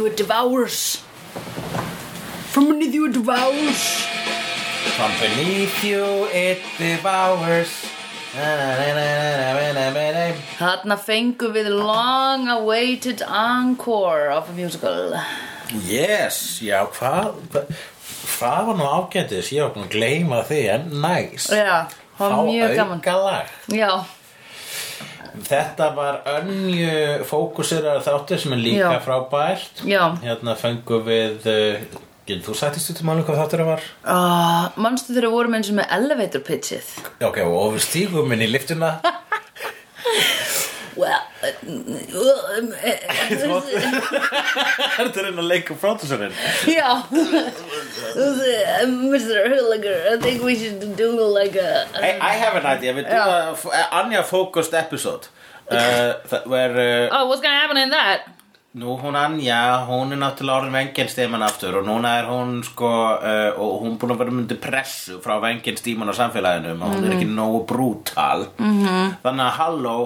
devours. From beneath you it devours. From beneath you it devours. Na-na-na-na-na-na-na-na. Þarna fengum við long awaited encore of a musical. Yes, já, hvað hva, hvað var nú ágændis? Ég var búin að gleyma því, en næs nice. Já, það var mjög gaman. Lag. Já, Þetta var önju fókuseraður þáttur sem er líka Já. frábært Já. Hérna fengum við uh, Getur þú sættist út um alveg hvað þáttur það var? uh, manstu þegar við vorum eins og með elevator pitchið? Já, Ok, og við stígum inn í liftuna Well, uh, uh, uh, uh, Þetta er einn að leika pródúsurinn Yeah. Mr. Hulliger, I think we should do like a. I, I have an idea, við Já. duðum að Anja focused episode uh, that- Where uh, Oh, what's gonna happen in that? Nú hún Anja, hún er náttúrulega orðin vengjenstíman aftur og núna er hún sko uh, og hún búin að vera myndi pressu frá vengjenstíman á samfélaginu og hún Mhm. er ekki nógu brútal -hmm. þannig að Halló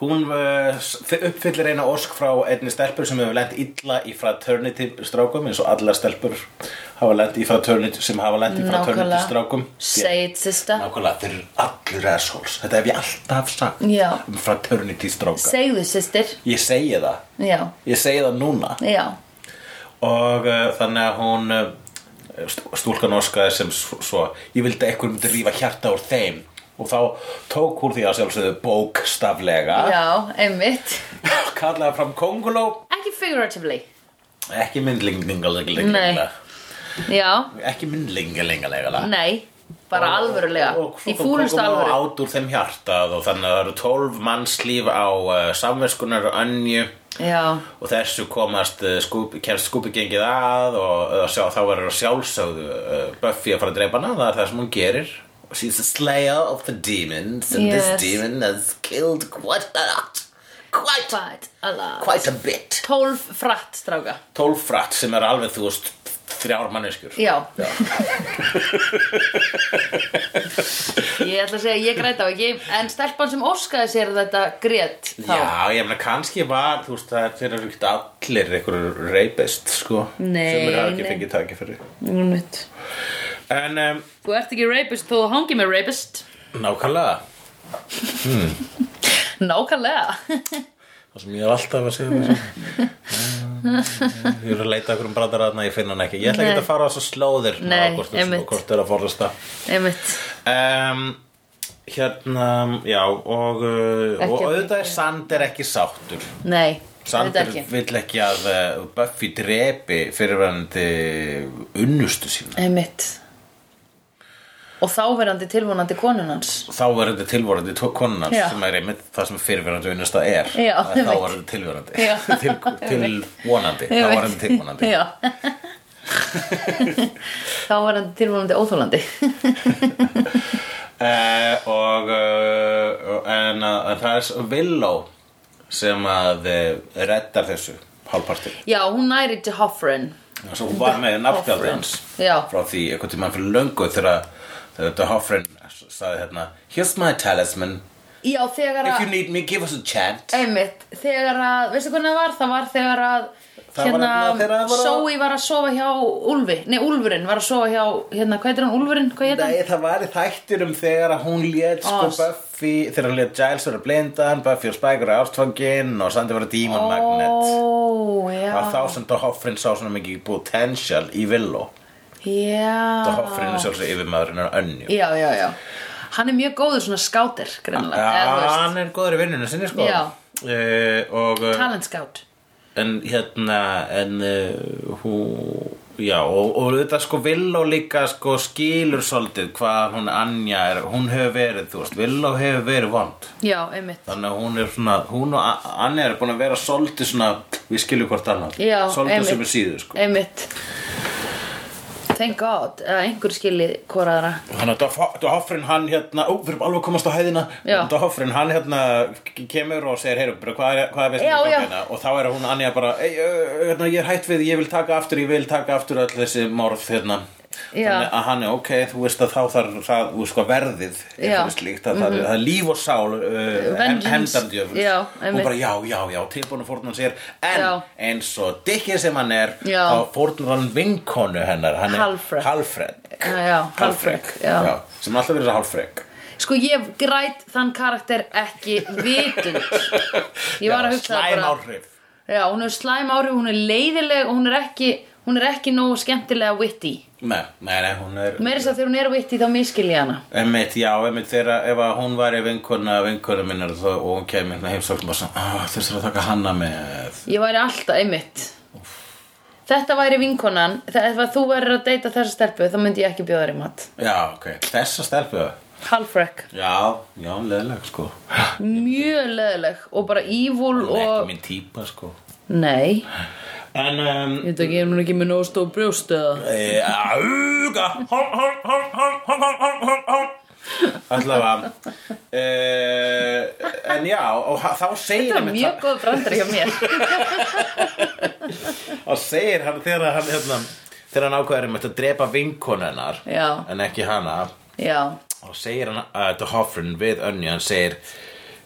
hún uh, s- uppfyllir eina ósk frá einni stelpur sem hefur lent illa í fraternity strákum eins og alla stelpur hafa lent í fraternity sem hafa lent í fraternity Nákvæmlega. strákum Say it, sister. Nákvæmlega, þeir eru allir assholes þetta hef ég alltaf sagt Já. um fraternity stráka Segðu, sister. ég segi það Já, Ég segi það núna já. og uh, þannig að hún uh, st- stúlkan óskaði sem s- svo ég vildi að einhver myndi rífa hjarta úr þeim og þá tók hún því að sjálfsögðu bókstaflega Já, einmitt. kallaði fram konguló Ekki figuratively. ekki Nei. myndlingalega Já, ekki myndlingalega nei. Bara alvörulega. og Í svo kom fúlustu konguló alvöru. át úr þeim hjartað og þannig að það eru tólf mannslíf á uh, samverskunar og önju Já, og þessu komast eh, Scooby- kemst skúpi gengið að og eh, sjá, þá verður að sjálfsögðu uh, Buffy að fara að dreipa hana, það er það sem hún gerir She's a slayer of the demons and Yes. this demon has killed quite a lot quite, but a lot. quite a bit Tólf fratt, stráka. Tólf fratt sem er alveg þú veist þrjár manneskjur Já. ég ætla að segja, ég græta á ekki. En stelpan sem óskaði sér þetta grét þá. Já, ég meina kannski var, þú veist, það þeir eru ekkert allir einhverju reypist, sko Nei, sem eru ekki nei. fengið takið fyrir Einmitt. En, um, Þú ert ekki rapist, þú hangið með rapist nákvæmlega Nákvæmlega Það sem ég er alltaf að segja mér Ég er að leita okkur um brandara þarna, ég finn hann ekki Ég ætla ekki Nei. að fara á þessu slóðir Nei, hvort, einmitt. hvort er að forðast það Einmitt um, Hérna, já og, uh, Ekki og að- auðvitað er Sander ekki sáttur Nei, þetta Sander ekki vill ekki að uh, Buffy drepi fyrirverandi unnustu sína Einmitt Og þáverandi tilvonandi konun hans Þá er þetta tilvorandi konunans Já. sem er einmitt það sem fyrirverandi unnusta er Já, Að Þá einmitt. er þetta tilvorandi Já. til, tilvonandi Þá er þetta tilvonandi Já Þáverandi tilvonandi óþólandi Eh, og uh, en að, að það er Villó sem að uh, reddar þessu hálfparti Já, hún næri til Hoffren svo hún var með nafngjaldið hans Já. frá því einhvern tímann fyrir löngu þegar þegar þetta Hoffrin sagði hérna here's my talisman Já, þegar if you að need me give us a chant Einmitt, þegar að, veistu hvernig það var? Það var þegar að hérna, Það var nefnilega þegar það var að- Sói var að sofa hjá Úlfi Nei, Úlfurinn var að sofa hjá Hérna, hvað heitir hann? Úlfurinn? Hvað heitir hann? Nei, það var í þættinum þegar að hún lét sko Ó, s- Buffy, þegar hún lét Giles vera blindan, Buffy og Spike vera ástfangin og Sandy vera Demon Ó, Magnet. Það var já þá sem Hoffrin sá svona mikið potential í Villó. Já og hoffrin er sjálfsög yfirmaðurinn er önju Já, já, já Hann er mjög góður svona skáter, greinlega Eða, þú veist, hann er góður í vinnunum sinni sko Já. Eh, og, eh, Talent scout en hérna en uh, hú já og, og þetta sko Villó líka sko skilur svolítið hvað hún Anja er, hún hefur verið þú veist, Villó hefur verið vond Já, einmitt þannig að hún er svona, hún og A- Anja er búin að vera svolítið svona, við skiljum hvort annað Já, svolítið einmitt. sem er síðu sko Einmitt Thank God, að einhver skilji hvoraðra Þannig að Doffrin hann hérna, ó, við erum alveg að komast á hæðina Já. Doffrin hann hérna kemur og segir, heyrðu, bara, hvað er, hvað er Já, vestin já. hérna? Og þá er hún annja bara, "Ey, ö, ö, hérna, ég er hætt við, ég vil taka aftur, ég vil taka aftur öll þessi morð hérna Já. þannig að hann er ok, þú veist að þá þarf það, þú veist hvað verðið er Já. Mhm. fyrir slíkt, að það, er, það er líf og sál uh, hem- Vengeance. hefndandi jöfn Já, hún einmitt. bara já, já, já, tilbúin að fórna sér en Já. eins og dikkið sem hann er Já. þá fórnar hann vinkonu hennar hann er Hallfred. Hallfred, Já, já, Hallfred, já. sem er alltaf verið að Hallfred Sko ég græt þann karakter ekki vitund Ég var Já, að hugsa það slæm bara áhrif Já, hún er slæm áhrif, hún er leiðileg og hún er ekki, hún er ekki nógu skemmtilega witty Nei, nei, nei, hún er Meira þess að þegar hún er witty þá miskil ég hana Einmitt, já, einmitt þegar ef að hún væri vinkona vinkona minnar þó, og hún kemur hérna heimsókn og svona, "Ah, þurftir að taka hanna með Ég væri alltaf einmitt Þetta væri vinkonan þe- Ef að þú verður að deyta þessa stelpu þá myndi ég ekki bjóða þér í mat Já, ok, þessa stelpu Halfrek, Já, já, hún leðileg sko Hún mjög leðileg og bara evil er ekki og minn típa sko Nei, En, um, ég veit ekki, er hún ekki með nógu stóð brjóst eða e, auga Hong, hong, hong, hong, hong, hong, hong, hong, hong Allavega uh, E, En já, og ha- þá segir Þetta er einmitt mjög góð brandar hjá mér og segir hann þegar hann hérna, þegar hann ákveður um að drepa vinkonennar Já. en ekki hana Já, og segir hann uh, til Hoffrin við önni hann segir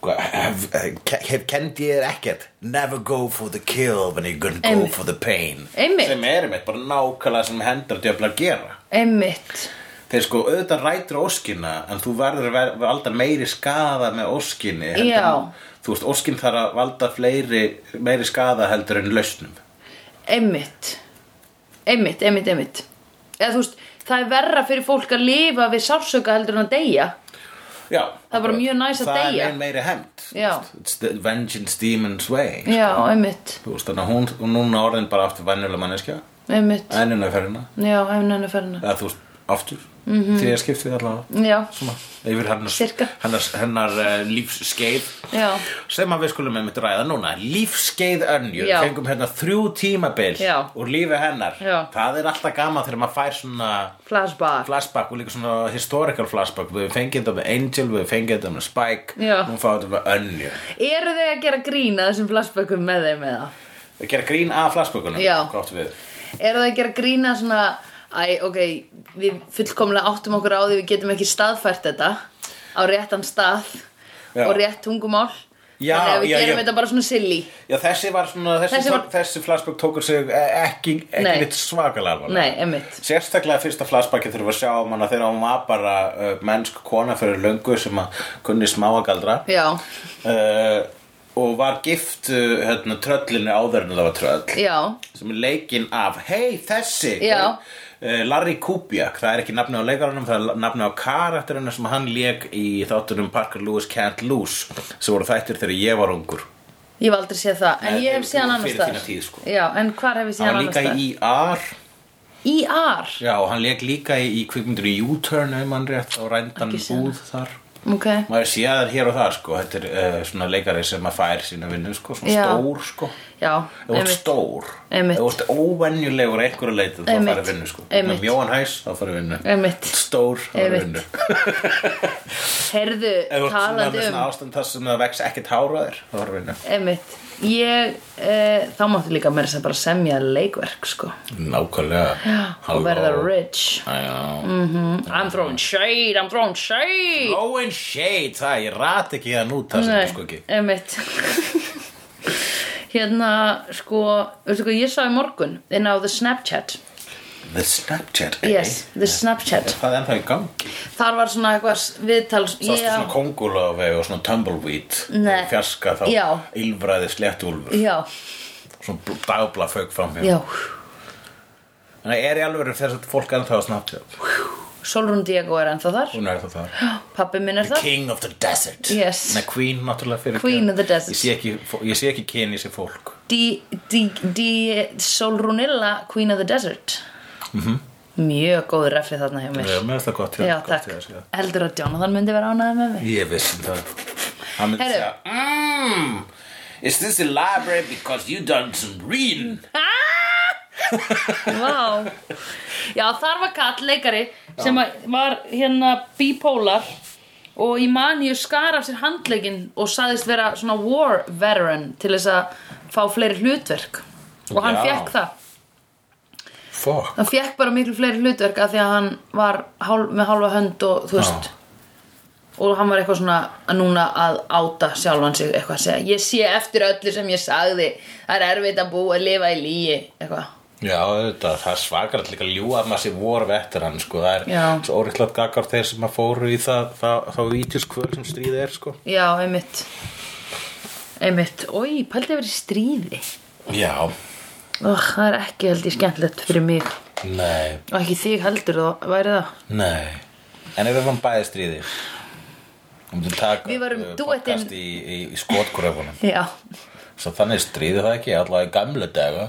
hva- hef, hef, hef kendi ég þér ekkert never go for the kill when you're gonna go Einmitt. for the pain Einmitt. sem er einmitt bara nákvæmlega sem hendur djöfla að gera einmitt þeir sko auðvitað rætur óskina en þú verður að ver- valda meiri skada með óskinni heldur Já. en- þú veist óskin þarf að valda fleiri meiri skada heldur en lausnum Einmitt Einmitt, einmitt, einmitt Eða þú veist, það er verra fyrir fólk að lifa við sársöka heldur en að deyja Já, Það er bara mjög næs að Það deyja. er meir meiri hemmt Já. It's the vengeance demon's way Já, einmitt, Þú veist þannig að hún, hún núna orðin bara aftur venjulega manneskja einmitt Ennuna ferðina Já, einmitt ferðina Eða þú veist, aftur mm -hmm. Þegar skiptið allavega Já, Svona, yfir Mhm. hennar, Sirka. hennar, hennar uh, lífsskeið já, sem að við skulum einmitt ræða núna lífskeið önnjur, Já. fengum hérna þrjú tímabil Já. úr lífi hennar Já. það er alltaf gaman þegar maður fær svona flashback flashback og líka svona historical flashback við fengið þetta með Angel, við fengið þetta með Spike Já. nú fáum þetta með önnjur Eru þau að gera grína þessum flashbackum með þeim eða? Að gera grín að flashbökunum Já. gott við Eru þau að gera grína svona Æ, ok, við fullkomlega áttum okkur á því við getum ekki staðfært þetta á réttan stað Já. og rétt tungumál Já, Þannig að við já, gerum já. þetta bara svona silly Já, þessi var svona, þessi, Þessi þessi, var- þessi flashback tókur sig eh, ekki, ekki Nei. neitt svakalega alvarlega. Nei, einmitt Sérstaklega fyrsta flashbackið þurfum við að sjá um hana þegar hún var bara uh, mennsk kona fyrir löngu sem að kunni smáagaldra Já, uh, og var gift uh, hérna, tröllinu áður en það var tröll já, sem er leikinn af, hei þessi Já. Eh, Larry Kubiak, það er ekki nafni á leikarunum, það er nafni á karakterinu sem hann lék í þáttunum Parker Lewis Can't Lose sem voru þættir þegar ég var ungur ég hef aldrei séð það En Nei, ég hef þú- séð hann þú- annars fyrir staðar þína tíð, sko. Já, en hvar hef ég séð hann hann var annars líka staðar? í R Í AR já, og hann leik líka í, í kvikmyndinu U-turn ef mann rétt á rændan Ekki séð búð þar Ok, maður sé að það hér og það sko þetta er uh, svona leikari sem að fær sína vinnu sko, svona Já. stór sko já, ef þú ert stór, Einmitt. ef þú ert óvenjulegur að einhverju leitin þá Einmitt. farið vinnu sko Einmitt. með mjóan hæs þá farið vinnu Einmitt. stór þá farið Einmitt. vinnu Herðu, ef þú ert svona með talandi um svona ástand þar sem það vex ekkert hára á þér þá farið vinnu Einmitt, ég e, Þá máttu líka meira sem bara semja leikverk, sko nákvæmlega Og verða Mm. rich rich I'm throwing shade, I'm throwing shade Owen Shade, það ég rat ekki það nú það sem Nei, ég sko ekki einmitt Hérna, sko, veistu hvað ég sá í morgun inn á The Snapchat The Snapchat eh? Yes, The Snapchat Það er ennþá í gangi Þar var svona eitthvað viðtal Sástu svona kongulofeg og svona tumbleweed Nei. og Fjarska þá Já. ylfraði sléttúlfur Já, Svona bl- dagbla fög fram hjá já Þannig að er í alveg þess að fólk ennþá að Snapchat Solrún Diego er ennþá þar Hún er það það Pappi minn er það King of the Desert Yes. Nei, Queen náttúrulega fyrir Queen ekki. of the Desert. Ég sé ekki, fó- ég sé ekki kyn í sér fólk Di, di, di Solrúnilla, Queen of the Desert -hmm. Mjög góð refi þarna hjá mér Ég með það sko. gott Já, Mhm. gott takk hjá þér, já. Heldur að Jonathan myndi vera ánæði með mig Ég vissum það Hann myndi Herru. segja Mmm Is this a library because you done some reading? Vá Já, þar var kall leikari sem að var hérna bipolar og í manju skar af sér handlegin og saðist vera svona war veteran til þess að fá fleiri hlutverk og hann Já. fekk það fuck hann fekk bara miklu fleiri hlutverk af því að hann var hálf, með hálfa hönd og þú veist og hann var eitthvað svona að núna að áta sjálfan sig eitthvað að segja ég sé eftir öllu sem ég sagði það er erfitt að búa að lifa í líi eitthvað Já, auðvitað, það er svakar líka að ljúga að maður sé vorf eftir hann, sko, það er Já. svo óreiklað gaggar þeir sem að fóru í það, það, þá vítjuskvöld sem stríði er, sko. já, einmitt einmitt, oi, pældi að vera í stríði Já, og það er ekki held ég skemmtilegt fyrir mig nei, og ekki þig heldur þá væri það nei, en ef við varum bæði stríði, um þú taka Við varum eh, dúettin. podcast í, í, í skotgröfunum, já, svo þannig stríði það ekki, allavega í gamla daga.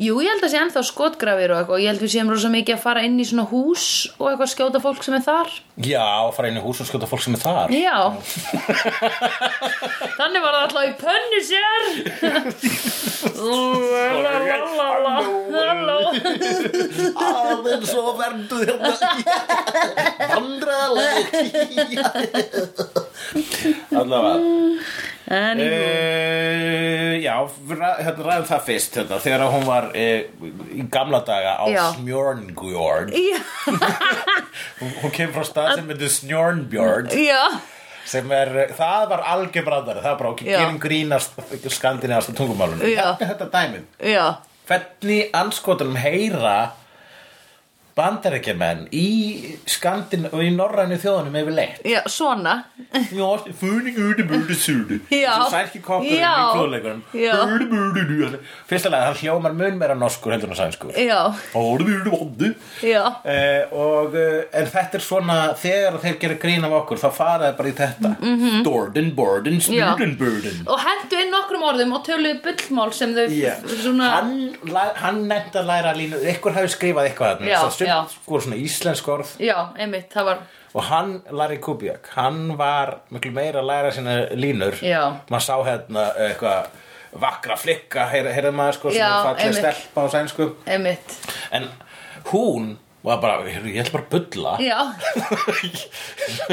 jú, ég held að sé ennþá skotgrafir og eitthvað og ég held við séum rosa mikið að fara inn í svona hús og eitthvað skjóta fólk sem er þar Já, fara inn í hús og skjóta fólk sem er þar. Já Þannig var það alltaf í pönnu sér Lalalala Aðeins og verðu hérna Vandraðaleg Allavega En Uh, já, við ræ- hérna ræðum það fyrst hérna, þegar að hún var uh, í gamla daga á Já. Smjörnbjörn Já, hún, hún kemur frá stað sem heitir Smjörnbjörn já, sem er, eh, það var algebrandari það er bara okkur Já. gerum grínast skandinavasta tungumálun Já. þetta dæmið já hvernig anskotunum heyra bandarækjumenn í skandin og í norrænu þjóðunum yfirleitt Já, svona Já, funi ude bude sude Já. Særki koppurinn Já. í klóðleikunum Já. Ude bude du Fyrsta lega, hann hljómar mun meira norskur heldur en sænskur Já, Orðu ude vondu já Eh, og, eh, en þetta er svona þegar þeir gera grín af okkur þá faraði bara í þetta mm -hmm. Dorden, Borden, Mhm. Já. Snuden, Burden Og hendu inn nokkrum orðum og töluðu bullmál sem þau svona hann, la- hann nefndi að læra línu ykkur hafi skrifað eitthvað Já, já. þarna sem sko svona íslensk orð Já, einmitt, það var og hann, Larry Kubiak hann var miklu meira að læra sína línur Já. maður sá hérna eitthvað vakra flikka, heyrði heyr maður sko sem Já, er falleg einmitt. stelpa á sænsku einmitt en hún var bara, heyrðu, ég ætla bara að bulla Já,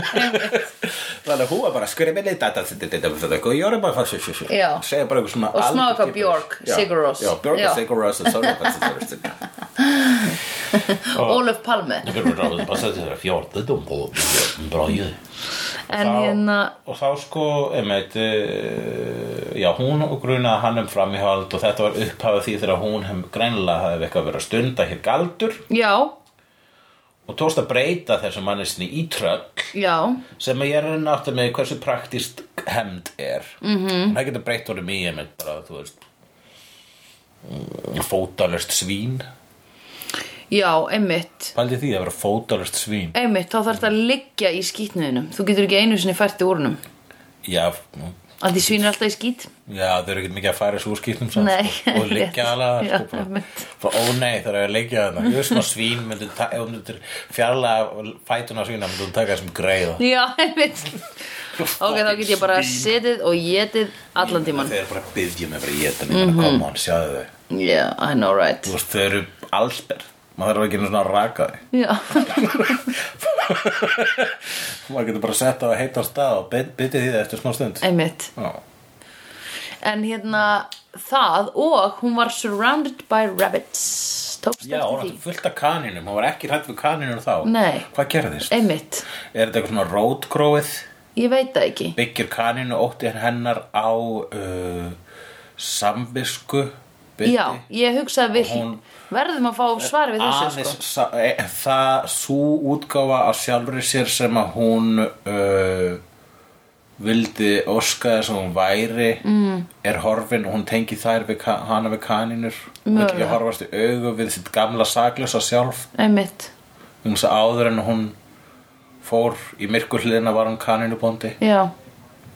þannig að hún var bara skrifin í þetta þetta, þetta, þetta, þetta, og ég var bara að Já. fara segja bara eitthvað svona Og smá algjör eitthvað gibberish. Björk, Já, Sigur Rós. já, Björk Já. og Sigur Rós og Sörðu Bæstur Ólöf Palme Það verður ráðið bara að setja þér að fjórðum og bráðið En hérna, og þá sko einmitt, uh, já, hún grunaði hann um framíhald og þetta var upphafið því þegar hún hef greinlega hafði eitthvað verið að stunda hér galdur já, og tókst að breyta þessum mannesni í tröll já sem ég er að átta með hversu praktist hemd er mm -hmm. Mhm. það getur breytt honum í einmitt bara, þú veist mm, fótalöst svín Já, einmitt pældi því að vera fótalöst svín Einmitt, þá þarf þetta að liggja í skítnuðinum Þú getur ekki einu sinni fært í úrnum já, mm, Að því svínir alltaf í skít Já, þau eru ekkert mikið að færa þessu úr skýrtum samt Nei, sko, og leggja rétt. alveg Já, sko, bara- einmitt. bara, ó nei, það er að leggja þarna ég veist svona svín, myndi, ta- ef þú myndir fjarlæga fætuna svína, myndir þú taka þessum greiða Já, einmitt Ok, þá get ég bara setið og getið allan tíman Þau eru bara að byggja mig bara í þetta mm Mhm. -hmm. koma hann, sjáðu þau Yeah, I know right Þú veist, þau eru allsber maður þarf ekki einu svona að raka þau Já, maður getur bara að setja það að heita á stað og byggja því það eftir smá stund einmitt Já. En hérna, það og hún var surrounded by rabbits Tókst Já, hún eftir var því fullt af kaninum, hún var ekki hrætt við kaninum þá Nei. Eh. Hvað gerðist? Einmitt, Er þetta eitthvað svona rótgróið? ég veit það ekki byggir kaninu ótti hennar á uh, samvisku byggði Já, ég hugsaði við Hún- Verðum að fá svar við þessu aðeins sko. sa- e- það svo útgáfa af sjálfri sér sem að hún uh, vildi óska þess að hún væri mm. er horfin og hún tengi þær við, ka- hana við kaninur hún vil ekki horfast í augu við sitt gamla saklösa sjálf Einmitt, hún sagði áður en hún fór í myrkurhliðina var hún kaninubóndi já,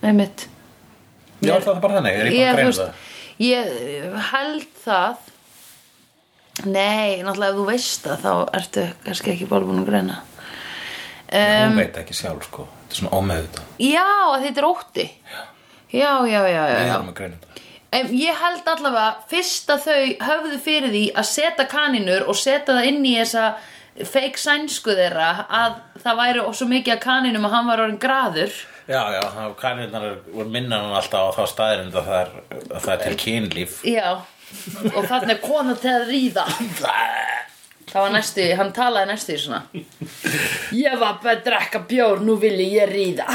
einmitt já það er bara þannig, er ég búin ég, að þú greina það veist, ég uh, held það Nei, náttúrulega ef þú veist það þá ertu kannski ekki bara búin að greina hún veit ekki sjálf sko þetta er svona ómeðuta Já, að þetta er ótti Já, já, já, já, við já. erum að greina þetta Em, Ég held allavega fyrst að þau höfðu fyrir því að setja kaninur og setja það inn í þessa fake sænsku þeirra að það væri svo mikið að kaninum að hann var orðin graður já, já, það- kanirnar eru- voru minna hann alltaf á þá staðirind að það er, að það er til kynlíf Já, og þarna er kona til að ríða Það var næstu, hann talaði næstu í svona Ég var bara að drekka bjór, nú vil ég ríða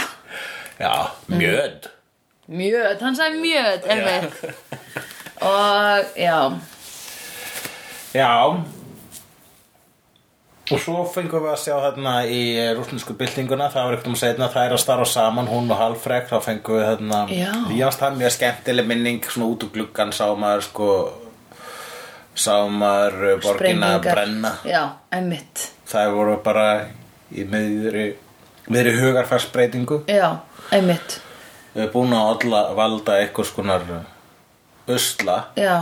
Já, mjöd Mjöð, hann sagði mjöð, er Og, já Já Og svo fengum við að sjá þarna í rúsnesku byltinguna, það var eitthvað um setna það er að starra saman, hún og Halfrek þá fengum við þarna, Já. jást það mjög skemmtileg minning, svona út úr gluggan sá maður sko sá maður uh, borgina Sprengingar. brenna Já, emmitt það voru bara í miðri, miðri hugarfarsbreytingu Já, emmitt við erum búin að alla valda eitthvað skonar usla Já,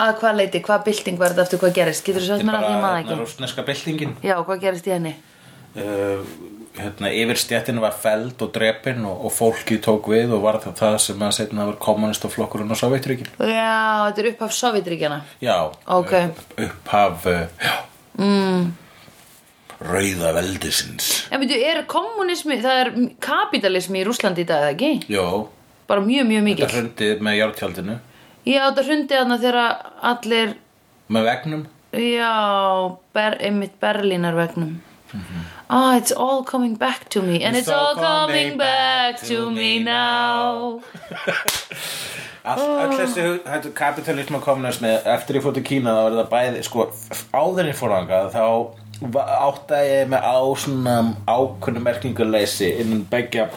að hvað leiti, hvað bylting var þetta eftir hvað gerist? Getur þú sagt mér að því maður hérna, ekki? rúsneska byltingin Já, hvað gerist í henni? uh, hérna, yfirstjættinu var feld og drepin og, og fólkið tók við og var það, það sem að setna var kommunistaflokkurinn og sovétrykin Já, þetta er upphaf Sovjetríkjana já, Ok. upp, upphaf uh, já mm. rauða veldisins En veitu, er kommunismi, það er kapitalismi í Rússlandi í dag, eða ekki? já, Bara mjög, mjög þetta mikið hrundið með jártjaldinu Já, þetta hrundi þarna þegar allir með vegnum Já, ber, einmitt Berlínar vegnum Ah, it's all coming back to me And it's, all coming back to me now All, Ah. Öll þessi hug- þetta kapitalism og kommunismi eftir ég fótt í Kína þá var það bæði sko, f- áður en ég fór áðurinn þá va- áttaði ég með á svona ákunnu merkinguleysi innan begja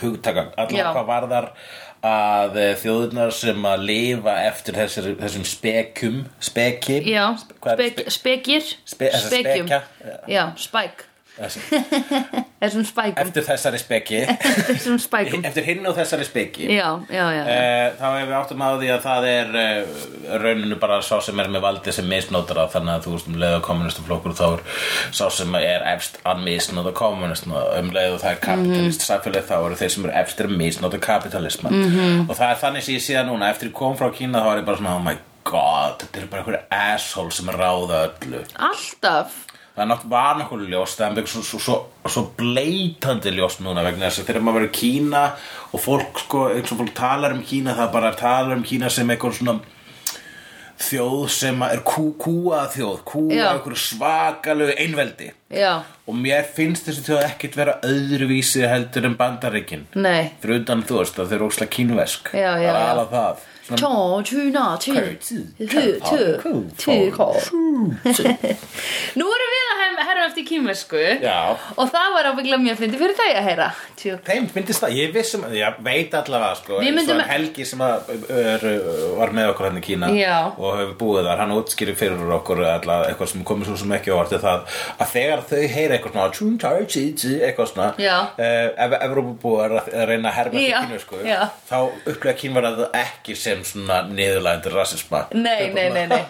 hugtakan Já. allar hvað varðar að eh, þjóðirnar sem að lifa eftir þessir, þessum spekjum speki Já, hvað er spek, spekir Spe- þessa Spekjum. spekja, Já, spæk þessi, Þessum spækum eftir þessari speki Þessum spækum eftir hinn og þessari speki Já, já, já Eh, Þá hefur við áttum á því að það er uh, rauninu bara sá sem er með valdi sem misnótar það þannig að þú veist um leið og kommunistaflokkur þá er sá sem er efst að misnóta kommunism og um leið og það er kapitalist sæfélag þá eru þeir sem eru efstir að misnóta kapitalisman -hmm. og það er þannig sem ég sé það núna eftir ég kom frá Kína þá er ég bara svona oh my god, þetta er bara einhverju asshole sem ráða öllu Alltaf það er náttúrulega var náttúrulega ljóst það er mjög svo, svo, svo, svo bleitandi ljóst núna vegna þess að þegar maður verður í Kína og fólk sko, eins og fólk talar um Kína það bara talar um Kína sem eitthvað svona þjóð sem að er kú, kúa þjóð kúa Já. einhverju svakalegu einveldi Já, og mér finnst þessi þjóð ekkert vera öðruvísi heldur en bandaríkin nei fyrir utan þú veist að þau eru óslega kínvesk Já, já, það já. er alveg það Svona- 从去那去去去口去口 Nú erum við að hem- herra eftir kýmversku Já. Og það var ábyggla mjög fyndi fyrir dag að heyra Tjú. Þeim finnst það, ég vissum, ég veit allavega sko, Við myndum- svo er Helgi sem að, er, var með okkur hann í Kína Já. og hefur búið þar, hann útskýrir fyrir okkur allavega eitthvað sem komið svo sem ekki á orðið það að þegar þau heyra eitthvað svona tjún, tjá, tjí, tjí, eitthvað svona Já. eh, ef Evrópubúar að að reyna að herma Já, til Kínu sko, já. þá upplega Kínvar að það ekki sem svona niðurlægandi rasisma Nei, nei, nei, nei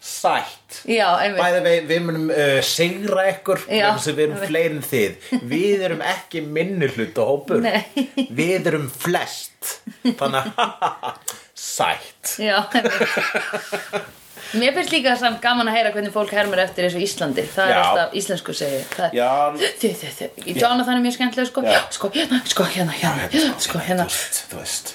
Sætt Já, einmitt Bæði við, við munum uh, sigra ykkur Já. vegna þess að við erum fleiri en þið Við erum ekki minni hlut og hópur Nei. Við erum flest Þannig að sætt Já, einmitt Mér finnst líka samt gaman að heyra hvernig fólk hermur eftir eins og Íslandi Það er Já. alltaf íslensku segi Það- Já. Þi- þi- þi- Í Jonathan er mjög skemmtilega sko Já. Sko hérna, sko hérna, hérna Sko hérna Þú veist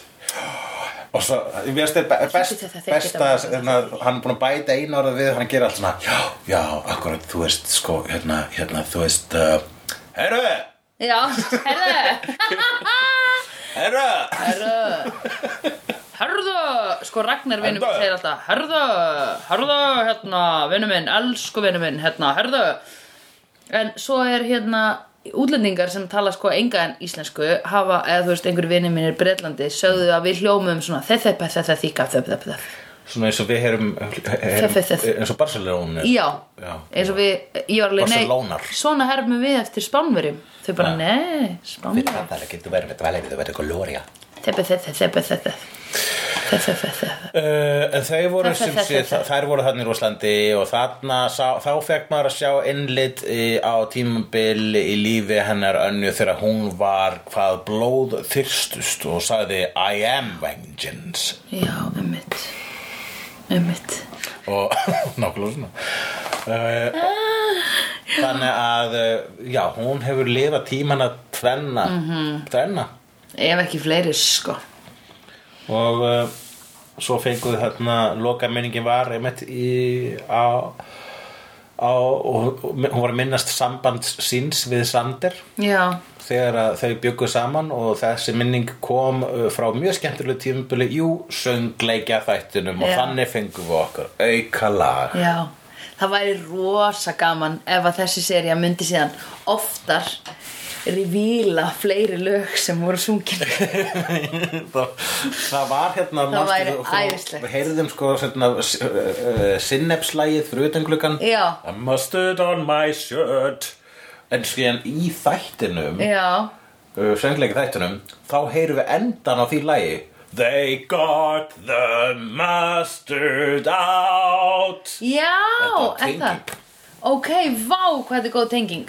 Og svo, ég veist þér best, Þetta- þetta- besta þetta- hérna, Hann er búin að bæta einu orða við Hann gerir allt svona Já, já, akkurat, þú veist, sko, hérna, hérna, þú veist uh, Herru, Já, hérna herru Herðu Herðu Sko Ragnar vinur minn Herðu. segir alltaf Herðu, herðu, hérna Vinur minn, elsku vinur minn, hérna, herðu En svo er hérna Útlendingar sem tala sko enga en íslensku hafa, eða þú veist, einhver vinur minn er bretlandi sögðu að við hljómum svona þethepa, þethepa, þýka, þethepa, þethepa Svona eins og við heyrum, heyrum Þess, þess. eins og Barcelona Já, Já. eins og við, ég var alveg Barcelonar. svona hermum við eftir spánverjum Þau bara, Já. nei, Við spánverjum tapar ekki, þú verður með dvalegið, þú verður glória Þethepa, þethepa, þethepa, þethepa Þethepa, þethepa Uh, en þau voru Það- það- sem það- sé, það- þa- þær voru þarna í Rúslandi og þarna, sá, þá fekk maður að sjá innlit í, á tímabil í lífi hennar önnu þegar hún var hvað blóð þyrstust og sagði I am vengeance Já, ummitt Ummitt og nákvæmlega svona uh, þannig að uh, já, hún hefur lifað tímana tvenna, tvenna Ef ekki fleiri, sko og uh, svo fenguðu þarna loka menningin var einmitt í, á á, og, og hún var að minnast samband síns við Sander já, þegar að þau byggu saman og þessi minning kom uh, frá mjög skemmtilegu tímabili jú, söngleikja þættinum og Já. þannig fengum við okkar auka lag já það væri rosa gaman ef að þessi serja myndi síðan oftar revíla fleiri lög sem voru sungin það, það var hérna Það manstu, væri þú- æðislegt. við heyrðum sko svona, uh, sinnepslægið fyrir utan gluggan Já. I mustard on my shirt en síðan í þættinum já, uh, söngleika þættunum þá heyrum við endan á því lægi They got the mustard out já Þetta var er það? tenging. ok, vá, hvað þetta er góð tenging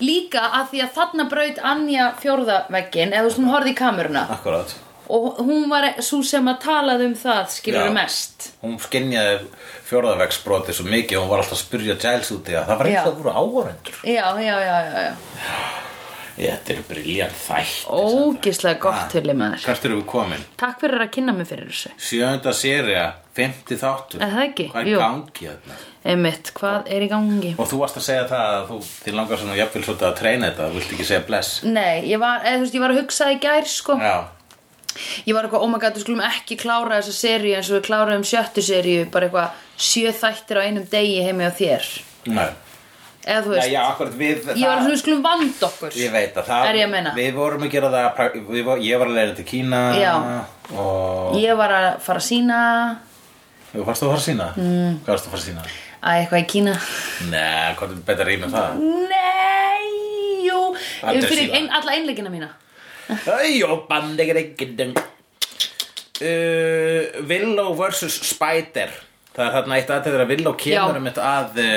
líka að því að þarna braut Anja fjórðaveggin eða þú veist hún horfði í kameruna Akkurat og hún var svo sem að talaði um það skilur Já. mest Hún skinjaði fjórðavegsbroti svo mikið og hún var alltaf að spyrja Giles út í að það var eins Já. og það voru áhórendur já, já, já, já, já. Þetta er briljant þætt ógislega Ah. gott til í maður Hvert erum við komin? takk fyrir að kynna mig fyrir þessu Sjönda sérija, 50 þáttur Er það ekki? Hvað Jú. er gangi hérna? einmitt, hvað er í gangi? Og þú varst að segja það að þú, þín langar svona jafnvel svolítið að treyna þetta, þú vilt ekki segja bless nei, ég var, eða, þú veist, ég var að hugsa í gær sko. Já, ég var eitthvað, oh my god, við skulum ekki klára þessa seríu eins og við kláraðum sjöttu seríu bara eitthvað sjö þættir á einum degi heimi á þér nei eða þú Já, veist, já, akkurat við ég var að við skulum vanda okkur Ég veit að það Er ég að meina? Við vorum að gera það pra- við vor, Ég var að leira til Kína Já. Og Ég var að fara að sína Þú varst að fara að sína? Mm. Hvað varst að fara að sína? að eitthvað í Kína Nei, hvað er betra rými en það? nei, jú Aldrei fyrir sína. ein, alla einleikina mína Æjó, bandegir ekki deng uh, Willow vs. Spider Það er þarna eitt aðtæður að Willow Já. kemur um þetta að uh,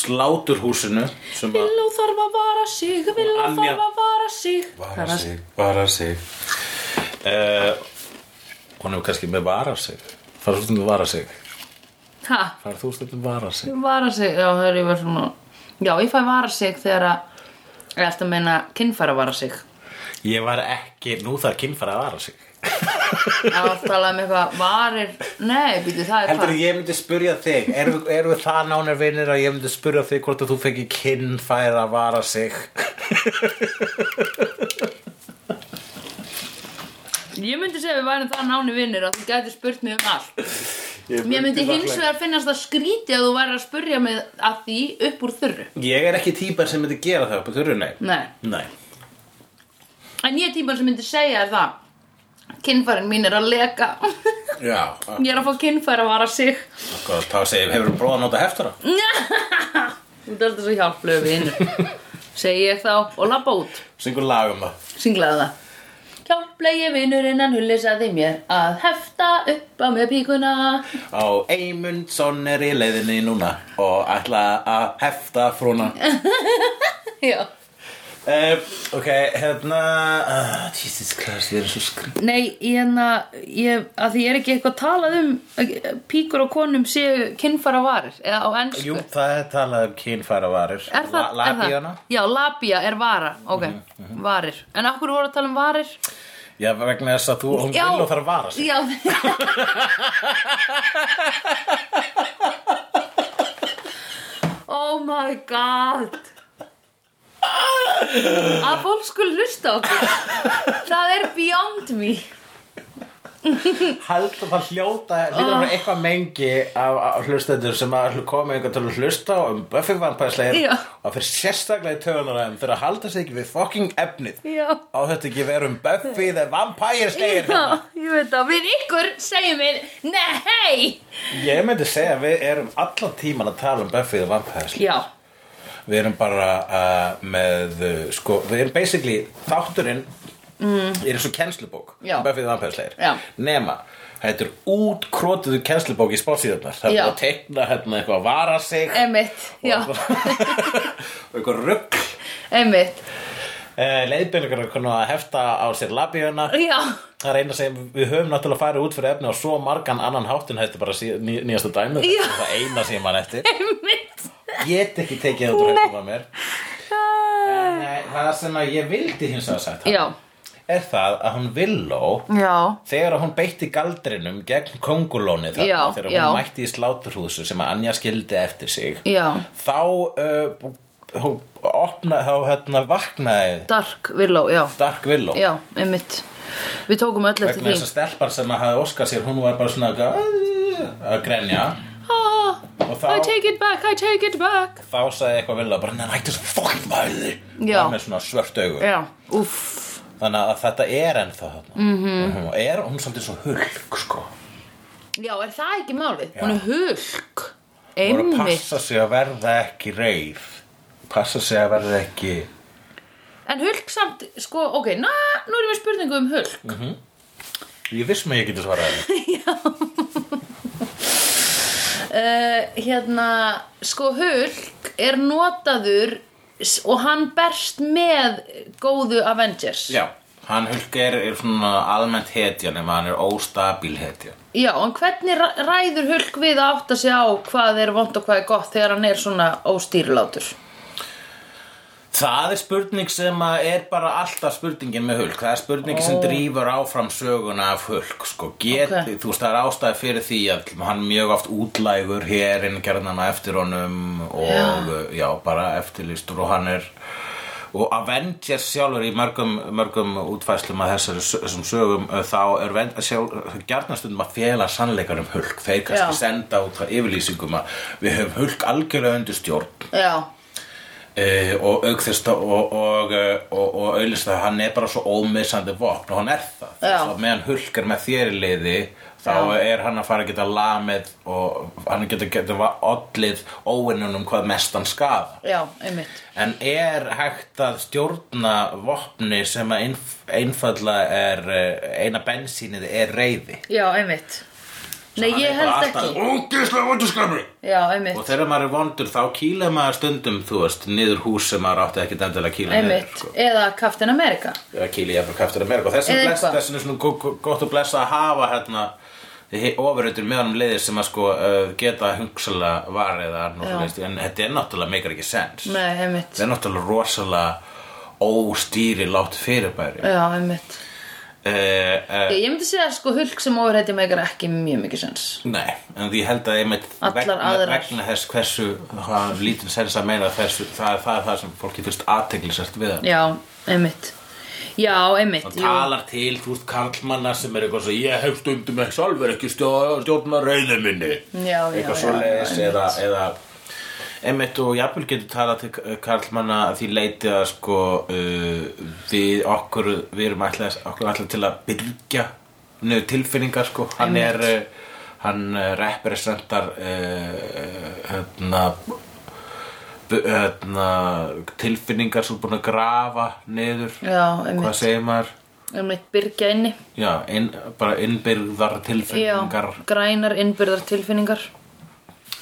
sláturhúsinu sem að Villó þarf að vara sig, Villó Anja- þarf að vara sig Vara sig, vara sig uh, Hún er kannski með vara sig Farðu stundum vara sig Hæ? Farðu þú stundum vara sig Vara sig, já það er ég verið svona Já, ég fæ vara sig þegar að Ég ætla að meina kynfæra vara sig Ég var ekki, nú þarf kynfæra að vara sig Það var að tala um eitthvað varir Nei, býtu, það er Heldur hvað ég myndi spurja þig Erum við, erum við það nánir vinir að ég myndi spurja þig hvort að þú fengi kynfæra að vara sig Ég myndi segja að við værum það náni vinnir að þú gæti spurt mig um allt Ég Mér myndi hins vegar finnast það skríti að þú væri að spurja mig að því upp úr þurru Ég er ekki típan sem myndi gera það upp á þurru, nei Nei, Nei en ég er tíman sem myndi segja er það Kynfærin mín er að leka Já, Ég er að fá kynfæra vara sig akkurat, þá segir, hefur þú prófað að nota heftara? Þú ert alltaf svo hjálplegu vinnur Segi ég þá og labba út Syngur lag um það Synglaði það Hjálplegi vinnurinnan hullisaði mér að hefta upp á mér píkuna Á Eymundsson er í leiðinni núna Og ætla að hefta frúna Já uh, Ok, hérna uh, Jesus Christ, ég er svo skrýn Nei, ég hérna, ég, að því ég er ekki eitthvað talað um að píkur og konum séu kynfara varir, eða á ennsku Jú, það er talað um kynfæra varir Er það, La, er það? labíana? Mhm, Já, labía er vara, ok, varir En af hverju voru að tala um varir? Já, vegna þess að þú, hún Já. vil og þarf að vara sig Já Oh my god Að fólk skul hlusta á okkur Það er beyond me Held að það hljóta Líka Ah. oh. eitthvað mengi af, af hlustendur sem að koma einhvern til að hlusta og um Buffy vampæðslegir Já. og fyrir sérstaklega í tögunar þeim fyrir að halda sig ekki við fucking efnið Já. á þetta ekki vera um Buffy the vampire Já, slegir hérna ég veit það, við ykkur segjum við Nei Ég myndi segja að við erum allan tíman að tala um Buffy the vampire slegir Já, Við erum bara uh, með, uh, sko, við erum basically, þátturinn mm. er eins og kennslubók, Já. Buffy the Vampire Slayer, Já. nema, þetta er útkrotuðu kennslubók í spársíðarnar, það er Já. bara að tekna hérna eitthvað að vara sig emitt Já, og og eitthvað rugg. emitt Uh, leiðbeiningar er konar að hefta á sér labíuna Já, það er eina sem við höfum náttúrulega farið út fyrir efni á svo margan annan háttun þetta er bara sí, ný, nýjasta dæmið Já. það er eina sem mann eftir emitt get ekki tekið þetta úr höfnum að mér Nei, það sem að ég vildi hins vegar sagt Já, er það að hún villó Já, þegar að hún beitti galdrinum gegn kongulóni þarna Já, þegar já. hún mætti í sláturhúsu sem að Anja skildi eftir sig Já. þá uh, hún opnaði þá hérna vaknaði Dark Willow, já Dark Willow Já, einmitt Við tókum öll eftir vegna því þess að stelpar sem að hafi óskað sér hún var bara svona eitthvað, að grenja ah, og þá, I take it back, I take it back þá sagði eitthvað Willow bara neina hættu svo fucking mæði Já. með svona svört augu Já, uff þannig að þetta er ennþá þarna mm -hmm. er hún er svolítið svo hulk sko Já, er það ekki málið? Hún er hulk hún er að Einmitt passa sig að verða ekki reif passa sig að verða ekki En hulk samt, sko, ok, na, nú erum við spurningu um hulk ég viss mig að ég geti svarað henni uh, hérna, sko Hulk er notaður s- og hann berst með góðu Avengers já Hann hulk er, er svona almennt hetja nema hann er óstabil hetja. Já, en hvernig ra- ræður Hulk við að átta sig á hvað er vond og hvað er gott þegar hann er svona óstýrlátur Það er spurning sem að er bara alltaf spurningin með hulk. Það er spurningi sem drífur áfram söguna af hulk. Sko. Get, Ok. Þú veist, það er ástæði fyrir því að hann mjög oft útlægur hérinn gerðan að eftir honum og já. bara eftirlýstur og hann er og Avengers sjálfur í mörgum, mörgum útfæslum að þessari, sö- þessum sögum uh, þá er ven- sjálf, gjarnastundum að fjela sannleikar um hulk þeir kannski Já. senda út það yfirlýsingum að við höfum hulk algjörlega undir stjórn Já, Uh, og aukþist og, og, eh, og, og auðlist að hann er bara svo ómissandi vopn og hann er það Já. Þess að meðan hulkar með þér í liði þá er hann að fara að geta lamið og hann getur geta ollið óvinnunum hvað mestan skaða já, einmitt en er hægt að stjórna vopni sem að einf, einfalla er eh, eina bensínið er reyði Já, einmitt Nei, ég held ekki Ógislega vondurskapur Já, einmitt Og þegar maður er vondur þá kýla maður stundum, þú veist, niður hús sem maður átti ekki endilega að kýla niður, Einmitt, sko. eða Captain America eða kýli jafnvel kaftur Amerika og þessum Eða bless, eitthvað. þessum er svona gó- gó- gott og blessa að hafa hérna ofurhautur með honum leiðir sem að sko uh, geta hugsalega varið að nú Já. þú veist, en þetta er náttúrulega meikar ekki sens Nei, einmitt þetta er náttúrulega rosalega óstýri látt fyrirbæri uh, Já, einmitt uh, Ég, ég myndi segja sko Hulk sem overheiti megar ekki mjög mikið sens nei, en því held að einmitt Allar vegna, aðrar. vegna þess hversu hvað lítinn sens að meina þessu það er það, er það sem fólki fyrst aðteglisast við hann Já, einmitt Já, einmitt og jú. talar til, þú veist, karlmanna sem er eitthvað svo, ég hef stundum ekki sjálfur ekki stjó- stjórna reyðu minni Já, já, eitthvað já, svo já, eða, eða Emmett og jafnvel getur talað til eh, karlmanna að því leiti að sko uh, við okkur við erum alltaf, okkur alltaf til að byrgja niður tilfinningar sko hann er, Einmitt. uh, hann eh, representar uh, hérna bu- hérna tilfinningar sem er búin að grafa niður Já, einmitt. hvað segir maður einmitt byrgja inni já, inn, bara innbyrðar tilfinningar Já, grænar innbyrðar tilfinningar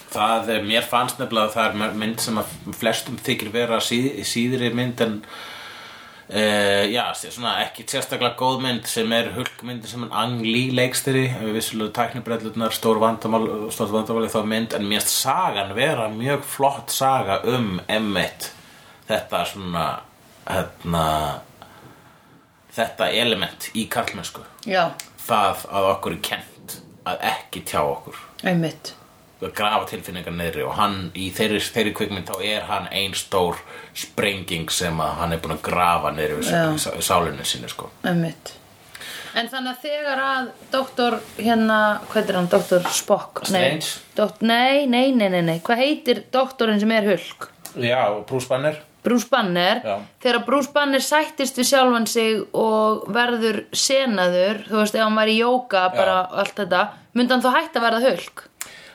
Það, er- mér fannst nefnilega að það er mynd sem að flestum þykir vera síð, síðri mynd en uh, já, sé- svona ekki sérstaklega góð mynd sem er hulkmynd sem en Ang Lee leikstiri við vissulega tæknibrellutnar, stór vandamál stór vandamál í þá mynd, en mér finnst sagan vera mjög flott saga um Emmett þetta svona hérna þetta element í karlmennsku Já, það að okkur er kent að ekki tjá okkur einmitt að grafa tilfinningar niðri og hann í þeirri, þeirri kvikmynd þá er hann ein stór sprenging sem að hann er búin að grafa niðri við Já. sá- sálinu sinni sko. Einmitt En þannig að þegar að doktor hérna, hvað er hann, doktor Spock? Nei, Strange. dokt, nei, nei, nei, nei, nei, hvað heitir doktorinn sem er hulk? Já, brúsbannir Bruce Banner, Já. þegar Bruce Banner sættist við sjálfan sig og verður senaður, þú veist, ef hann var í jóka, bara allt þetta, myndi hann þá hætt að verða hulk?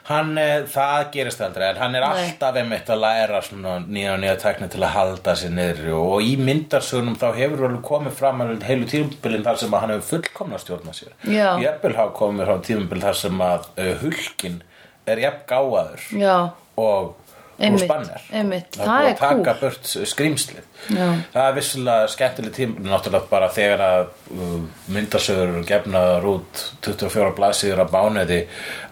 Hann, eh, það gerist aldrei en hann er alltaf einmitt að læra svona nýja og nýja tekni til að halda sér niðri og í myndarsugunum þá hefur alveg komið fram alveg heilu tímubilin þar sem að hann hefur fullkomna stjórna sér Já. Jafnvel hafa komið fram tímubil þar sem að uh, hulkin er jafn gáaður Já, og Einmitt, brúsbannir einmitt. Það Það, er er búið að taka kúl. burt skrýmslið. Já. Það er vissulega skemmtileg tíma, náttúrulega bara þegar að uh, myndasögur eru gefnaðar út 24 blaðsíður að bánuði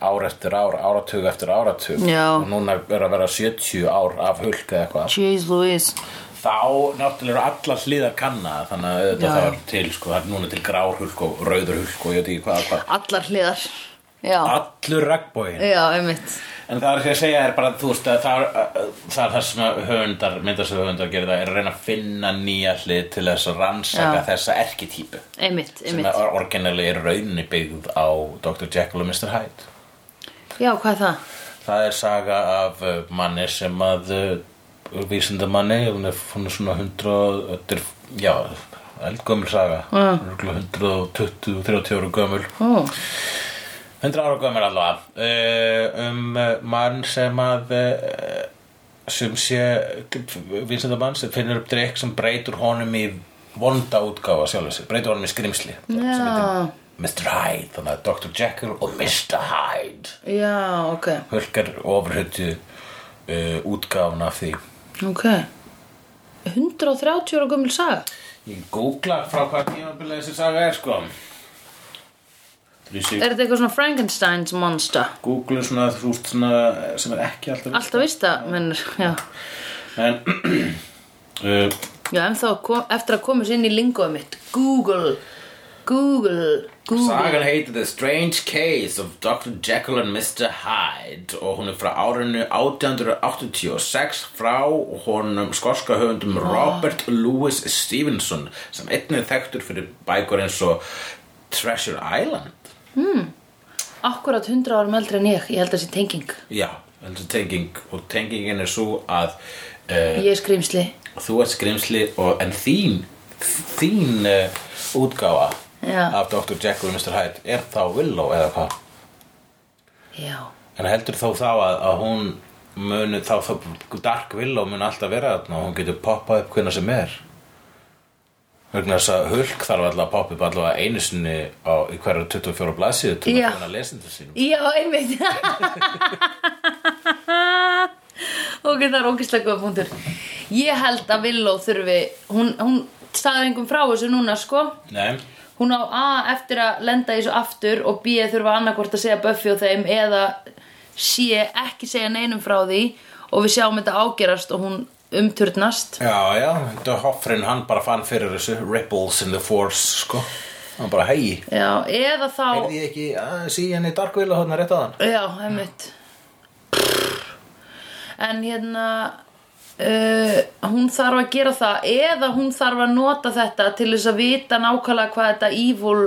ár eftir ár, áratug eftir áratug Já. og núna er að vera 70 ár af hulk eða eitthvað. jeez Louise þá náttúrulega eru allar hliðar kanna þannig að Já, þetta já. þarf til sko, það er núna til grár hulk og rauður hulk og ég veit ekki hvað, hvað. Allar hliðar Já, allur ragbóin já, einmitt en það er ekki að segja er bara þú veist að það, er- það er það sem að höfundar myndasöðu höfundar gerir það er að reyna að finna nýja hlið til þess að rannsaka Já. þessa erkitýpu Einmitt, sem einmitt er orginali er rauninni byggð á Dr. Jekyll og Mr. Hyde Já, hvað er það? Það er saga af uh, manni sem að uh, vísindamanni, hún er, hún er svona 100, og- þetta er, já, eldgömmul saga, Já. Örugglega 120, 30 ára gömul, Ó, 100 ára gömul allavega, uh, um uh, mann sem að, uh, sem sé, vísindamann sem finnur upp drikk sem breytur honum í vonda útgáfa sjálfur sig, breytur honum í skrimsli, sem Já. heitir Mr. Hyde, þannig að Dr. Jekyll og Mr. Hyde. já, ok Hulkar ofurhutu uh, útgáfuna af því Ok 130 ára gömul saga Ég googla frá hvað tímabilið þessi saga er sko Þessi Er þetta eitthvað svona Frankensteins monster? googlu svona þú veist svona eh, sem er ekki alltaf Alltaf vist það, mennur, já En uh, Já, en þá kom, eftir að komast inn í lingoðum mitt Google, Google, Google Sagan heitir The Strange Case of Dr. Jekyll and Mr. Hyde og hún er frá árinu 1886 frá honum skorska höfundum Robert Louis Stevenson sem einnig er þekktur fyrir bækur eins og Treasure Island Akkurat 100 árum eldri en ég, ég held að sé tenging Já, þetta er tenging og tengingin er svo að uh, Ég er skrýmsli þú ert skrimsli og, en þín þín uh, útgáfa Já. af Dr. Jekyll og Mr. Hyde er þá Willow eða hvað Já, en heldur þó þá að, að hún muni þá, þá Dark Willow mun alltaf vera þarna og hún getur poppað upp hvernig sem er vegna þess að Hulk þarf alltaf að poppa upp allavega einu sinni á, í hverju 24 blaðsíðu til Já. að finna lesendur sínum já einmitt Ok, það er ógislega góða punktur Ég held að Villó þurfi Hún, hún staðar engum frá þessu núna, sko Nei, Hún á A eftir að lenda í þessu aftur og B þurfa annarkvort að segja Buffy og þeim eða C ekki segja neinum frá því og við sjáum þetta ágerast og hún umturnast já, já, þetta Hoffrin hann bara fann fyrir þessu Ripples in the Force, sko hann bara, hei, Já, eða þá heyrði ég ekki að sí henni Dark Willow hann rétt að hann Já, einmitt En hérna uh, hún þarf að gera það eða hún þarf að nota þetta til þess að vita nákvæmlega hvað þetta evil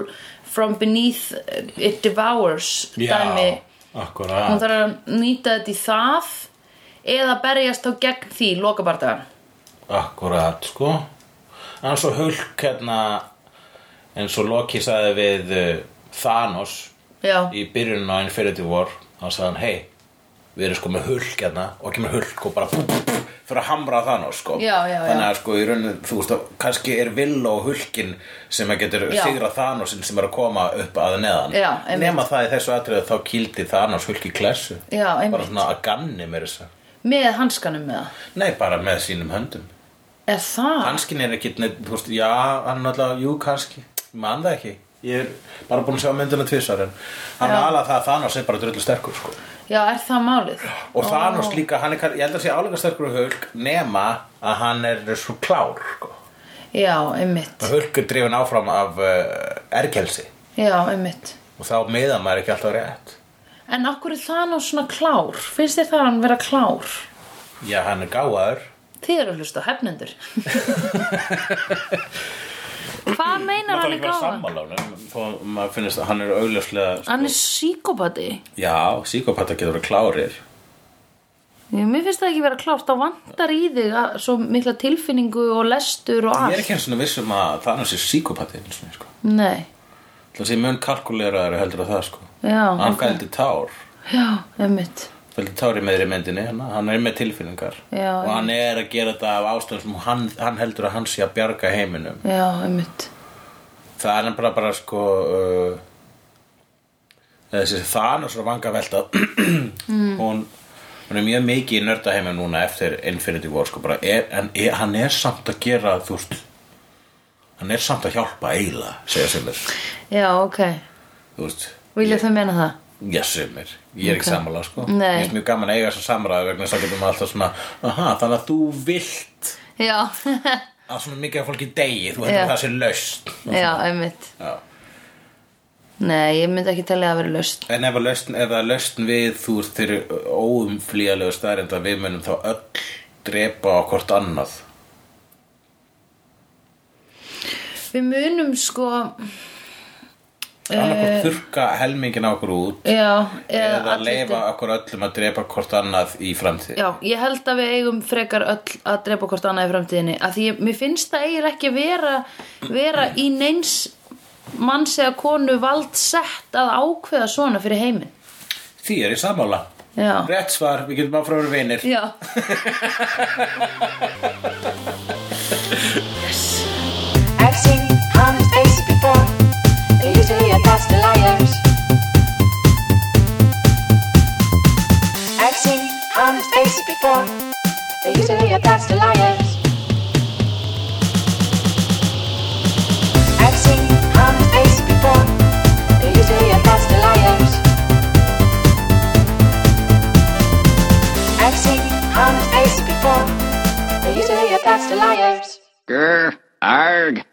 from beneath uh, it devours dæmi hún akkurat þarf að nýta þetta í það eða berjast þá gegn því lokabardagan Akkurat, sko En svo Hulk hérna eins og Loki sagði við uh, Thanos Já, í byrjunum á Infinity War þá sagði hann, hei, við erum sko með Hulk hérna og kemur Hulk og bara bú, bú, bú, fyrir að hamra Thanos, sko Já, já, já. Þannig að sko, í rauninu, þú veist, að kannski er vill og Hulkin sem að getur Já. sigra Thanosin sem er að koma upp að neðan Já, einmitt. Nema það í þessu atriðu þá kýldi Thanos Hulk í klessu Já, einmitt. Bara svona að ganni mér þess að með hanskanum með það Nei, bara með sínum höndum Er það? Hanskin er ekki, neitt, þú veist, já, hann er alltaf, jú, kannski, ég man það ekki. Ég er bara búin að sjá myndina tvisar en hann Já. er alveg það að Thanos er bara drullu sterkur, sko. Já, er það málið? Og Thanos líka, hann er, kann- ég held að sé álega sterkur og Hulk nema að hann er svo klár, sko. Já, einmitt Og Hulk er drifin áfram af uh, erkelsi Já, einmitt og þá meða maður ekki alltaf rétt. En okkur er það nú svona klár? Finnst þér það hann vera klár? Já, hann er gáðaður. Þið eru að hlusta á hefnendur. Hvað meinar hann er gáðan? sammála honum, þó að maður finnist að hann er augljóslega, sko. Hann er síkopati. Já, síkopata getur verið klárir. Mér finnst það ekki vera klárt. Það vantar í þig að, svo mikla tilfinningu og lestur og Ég er allt. ekki eins og vissum um að Thanos er síkopati, eins og sko. Nei. Það sé mun kalkuleraður heldur að það sko Já, Hann ok. fældi tár Já, emmitt. Fældi tár í meðri myndinni hann, hann er með tilfinningar Já, Og hann er að gera þetta af ástæðum sem hann, hann heldur að hann sé að bjarga heiminum Já, emmitt. Það er bara bara sko uh, Þessi Thanos og vanga velta Mm. Hún Hún er mjög mikið í nördaheimum núna eftir Infinity War sko bara er, En er, hann er samt að gera þú veist Hann er samt að hjálpa eiginlega segja sumir Já, ok. Þú veist Vilja þau meina það? Já, sumir. Ég er ekki sammála, sko. Nei. Ég er mjög gaman að eiga þess að samræða vegna þess að getum alltaf svona, aha, þannig að þú vilt já, að svona mikið af fólki degi þú heldur Já. að það sé laust já, einmitt Já. Nei, ég myndi ekki telja að vera löst en ef að lausn, ef að lausn við þú veist þeirri óumflýjalegu staðrind að við munum þá öll drepa á hvort annað Við munum sko annarkvort þurka helmingin á okkur út Eh. Já, eða, eða allir- leifa okkur öllum að drepa hvort annað í framtíð Já, ég held að við eigum frekar öll að drepa hvort annað í framtíðinni að því ég, mér finnst það eiginlega ekki vera vera í neins manns eða konu vald sett að ákveða svona fyrir heiminn því er ég sammála Já. rétt svar, við getum áfram að vera vinir Já I've seen honest faces before. They're usually a pass to liars. I've seen honest faces before. They're usually a pass to liars. I've seen honest faces before. They're usually a pass to liars. I've seen honest faces before. They're usually a pass to liars. Grr, arg.